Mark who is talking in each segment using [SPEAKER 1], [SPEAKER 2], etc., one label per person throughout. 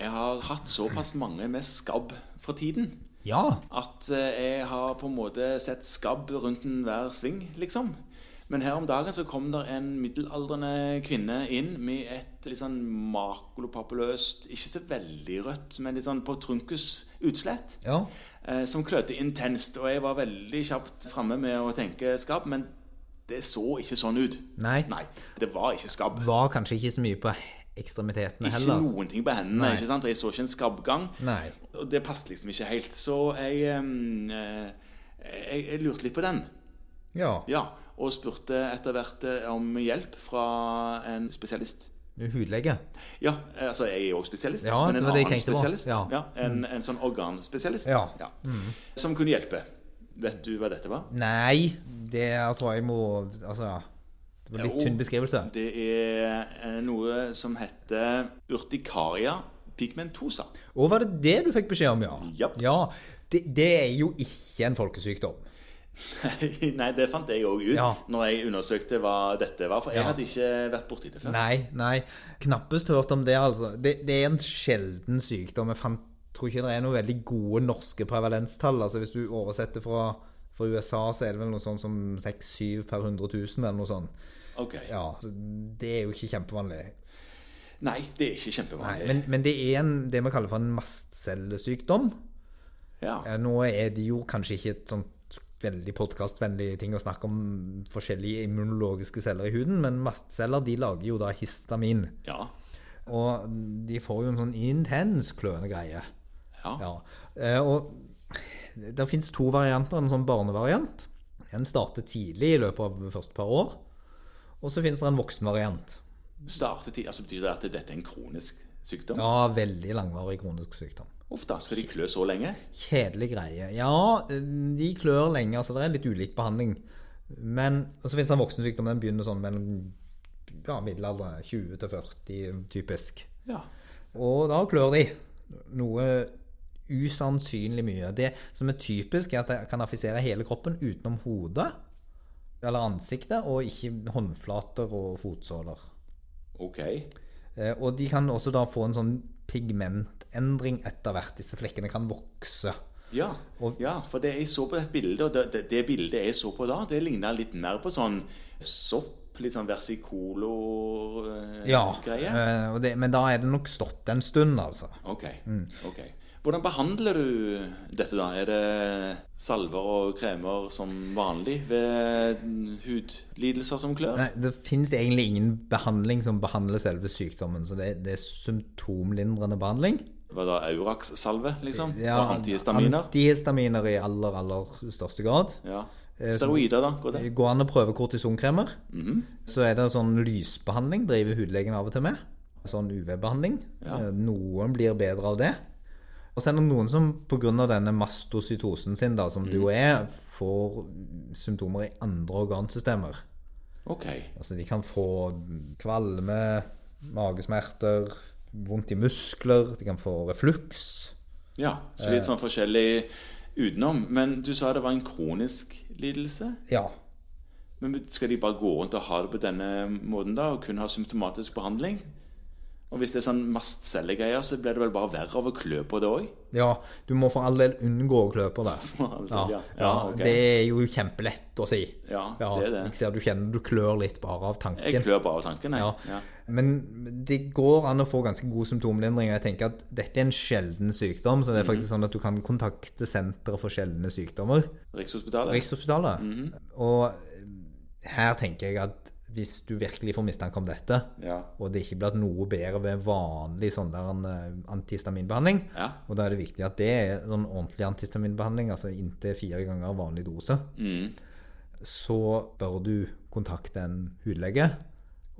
[SPEAKER 1] har hatt såpass mange med skabb for tiden
[SPEAKER 2] Ja.
[SPEAKER 1] at eh, jeg har på en måte sett skabb rundt enhver sving, liksom. Men her om dagen så kom der en middelaldrende kvinne inn med et litt sånn makulopapuløst, ikke så veldig rødt, men litt sånn på trunkus utslett.
[SPEAKER 2] Ja.
[SPEAKER 1] eh, Som klødde intenst. Og jeg var veldig kjapt framme med å tenke skabb, men det så ikke sånn ut.
[SPEAKER 2] Nei.
[SPEAKER 1] Nei, det var ikke skabb.
[SPEAKER 2] Var kanskje ikke så mye på ekstremitetene
[SPEAKER 1] Ikke
[SPEAKER 2] heller.
[SPEAKER 1] noen ting på hendene.
[SPEAKER 2] Nei.
[SPEAKER 1] ikke sant? Og Jeg så ikke en skabbgang.
[SPEAKER 2] Nei.
[SPEAKER 1] Og det passet liksom ikke helt. Så jeg, ehm, eh, jeg, jeg lurte litt på den.
[SPEAKER 2] Ja.
[SPEAKER 1] Ja, Og spurte etter hvert eh, om hjelp fra en spesialist.
[SPEAKER 2] Du er Hudlege.
[SPEAKER 1] Ja, eh, altså jeg er jo også spesialist,
[SPEAKER 2] Ja,
[SPEAKER 1] men
[SPEAKER 2] det
[SPEAKER 1] en
[SPEAKER 2] var det jeg
[SPEAKER 1] annen
[SPEAKER 2] tenkte på.
[SPEAKER 1] spesialist.
[SPEAKER 2] Ja. Mm.
[SPEAKER 1] en, en sånn organspesialist.
[SPEAKER 2] Ja. Mm.
[SPEAKER 1] Som kunne hjelpe. Vet du hva dette var?
[SPEAKER 2] Nei, det her tror jeg må Altså, det var
[SPEAKER 1] Jo.
[SPEAKER 2] litt tynn beskrivelse.
[SPEAKER 1] Det er eh, noe som heter urtikaria pigmentosa.
[SPEAKER 2] Og var det det du fikk beskjed om, ja?
[SPEAKER 1] Japp.
[SPEAKER 2] Ja, det, det er jo ikke en folkesykdom.
[SPEAKER 1] Nei, det fant jeg òg ut
[SPEAKER 2] Ja.
[SPEAKER 1] når jeg undersøkte hva dette var. For jeg
[SPEAKER 2] Ja.
[SPEAKER 1] hadde ikke vært borti det før.
[SPEAKER 2] Nei, nei. Knappest hørt om det, altså. Det, det er en sjelden sykdom. Jeg fant, tror ikke det er noen veldig gode norske prevalenstall. Altså Hvis du oversetter fra, fra USA, så er det vel noe sånn som 6-7 per 100 000, eller noe sånt.
[SPEAKER 1] Ok.
[SPEAKER 2] Ja, så Det er jo ikke kjempevanlig.
[SPEAKER 1] Nei, det er ikke
[SPEAKER 2] Nei,
[SPEAKER 1] kjempevanlig.
[SPEAKER 2] men, men det er en, det vi kaller for en mastcellesykdom.
[SPEAKER 1] ja.
[SPEAKER 2] Eh, Nå er det jo kanskje ikke et sånt veldig podkastvennlig ting å snakke om forskjellige immunologiske celler i huden, men mastceller de lager jo da histamin.
[SPEAKER 1] Ja.
[SPEAKER 2] Og de får jo en sånn intens kløende greie.
[SPEAKER 1] ja.
[SPEAKER 2] Ja. Eh, Og det fins to varianter. En sånn barnevariant. Den starter tidlig i løpet av første par år. Og så fins det en voksenvariant.
[SPEAKER 1] Startet i, altså Betyr det at dette er en kronisk sykdom?
[SPEAKER 2] Ja, veldig langvarig kronisk sykdom.
[SPEAKER 1] Uff da, skal de klø så lenge?
[SPEAKER 2] Kjedelig greie. Ja, eh, de klør lenge, så det er litt ulik behandling. Men, og så fins det en voksensykdom. Den begynner sånn mellom ja, middelalder, 20 til 40, typisk.
[SPEAKER 1] Ja.
[SPEAKER 2] Og da klør de noe usannsynlig mye. Det som er typisk, er at de kan affisere hele kroppen utenom hodet eller ansiktet, og ikke håndflater og fotsåler.
[SPEAKER 1] Ok.
[SPEAKER 2] Eh, Og de kan også da få en sånn pigmentendring etter hvert. Disse flekkene kan vokse.
[SPEAKER 1] Ja, ja, for det jeg så på et bilde, og det, det, det bildet jeg så på da, det ligna litt mer på sånn sopp, litt sånn versicolo-greie.
[SPEAKER 2] Ja, eh, og det, men da er det nok stått en stund, altså.
[SPEAKER 1] Ok, ok. Hvordan behandler du dette da? Er det salver og kremer som vanlig ved hudlidelser som klør?
[SPEAKER 2] Nei, det fins egentlig ingen behandling som behandler selve sykdommen, så det, det er symptomlindrende behandling.
[SPEAKER 1] Hva da, Aurax-salve, liksom? og
[SPEAKER 2] Ja,
[SPEAKER 1] antihistaminer?
[SPEAKER 2] Antihistaminer i aller, aller største grad.
[SPEAKER 1] ja.
[SPEAKER 2] eh,
[SPEAKER 1] Steroider, da? Går det?
[SPEAKER 2] Går an å prøve kortisonkremer.
[SPEAKER 1] Mhm.
[SPEAKER 2] Så er det sånn lysbehandling, driver hudlegen av og til med. Sånn UV-behandling. Eh, Noen blir bedre av det. Og så er det noen som pga. denne mastocytosen sin, da,
[SPEAKER 1] Mhm.
[SPEAKER 2] som det jo er, får symptomer i andre organsystemer.
[SPEAKER 1] Ok.
[SPEAKER 2] Altså de kan få kvalme, magesmerter, vondt i muskler, de kan få refluks.
[SPEAKER 1] Ja, så
[SPEAKER 2] eh.
[SPEAKER 1] litt sånn forskjellig utenom. Men du sa det var en kronisk lidelse?
[SPEAKER 2] Ja,
[SPEAKER 1] Men skal de bare gå rundt og ha det på denne måten da, og kun ha symptomatisk behandling? Og hvis det er sånn mastcellegreier, så blir det vel bare verre av å klø på det òg?
[SPEAKER 2] Ja, du må for all del unngå å klø på det.
[SPEAKER 1] For all del, ja.
[SPEAKER 2] ja,
[SPEAKER 1] Ja, ok.
[SPEAKER 2] Det er jo kjempelett å si.
[SPEAKER 1] Ja, det er det.
[SPEAKER 2] Jeg ser du kjenner du klør litt bare av tanken.
[SPEAKER 1] Jeg klør bare av tanken, jeg.
[SPEAKER 2] Ja.
[SPEAKER 1] Ja.
[SPEAKER 2] Men det går an å få ganske god symptomlindring. og Jeg tenker at dette er en sjelden sykdom, så det er
[SPEAKER 1] Mhm.
[SPEAKER 2] faktisk sånn at du kan kontakte senteret for sjeldne sykdommer.
[SPEAKER 1] Rikshospitalet?
[SPEAKER 2] Rikshospitalet.
[SPEAKER 1] Mhm.
[SPEAKER 2] Og her tenker jeg at hvis du virkelig får mistanke om dette,
[SPEAKER 1] Ja.
[SPEAKER 2] og det ikke blir noe bedre ved vanlig sånn der en, eh, antihistaminbehandling,
[SPEAKER 1] Ja.
[SPEAKER 2] og da er det viktig at det er sånn ordentlig antihistaminbehandling, altså inntil fire ganger vanlig dose,
[SPEAKER 1] Mhm.
[SPEAKER 2] så bør du kontakte en hudlege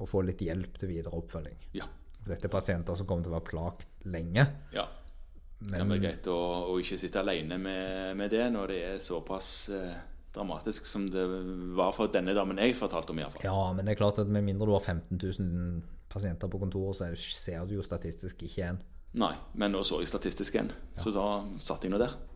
[SPEAKER 2] og få litt hjelp til videre oppfølging.
[SPEAKER 1] ja.
[SPEAKER 2] Dette er pasienter som kommer til å være plagt lenge.
[SPEAKER 1] ja. Det kan være greit å, å ikke sitte alene med, med det når det er såpass eh, dramatisk som det var for denne damen jeg fortalte om, iallfall.
[SPEAKER 2] Ja, men det er klart at med mindre du har 15 000 pasienter på kontoret, så er det- ser du jo statistisk ikke en.
[SPEAKER 1] Nei, men nå så jeg statistisk igjen, så da satt jeg nå der.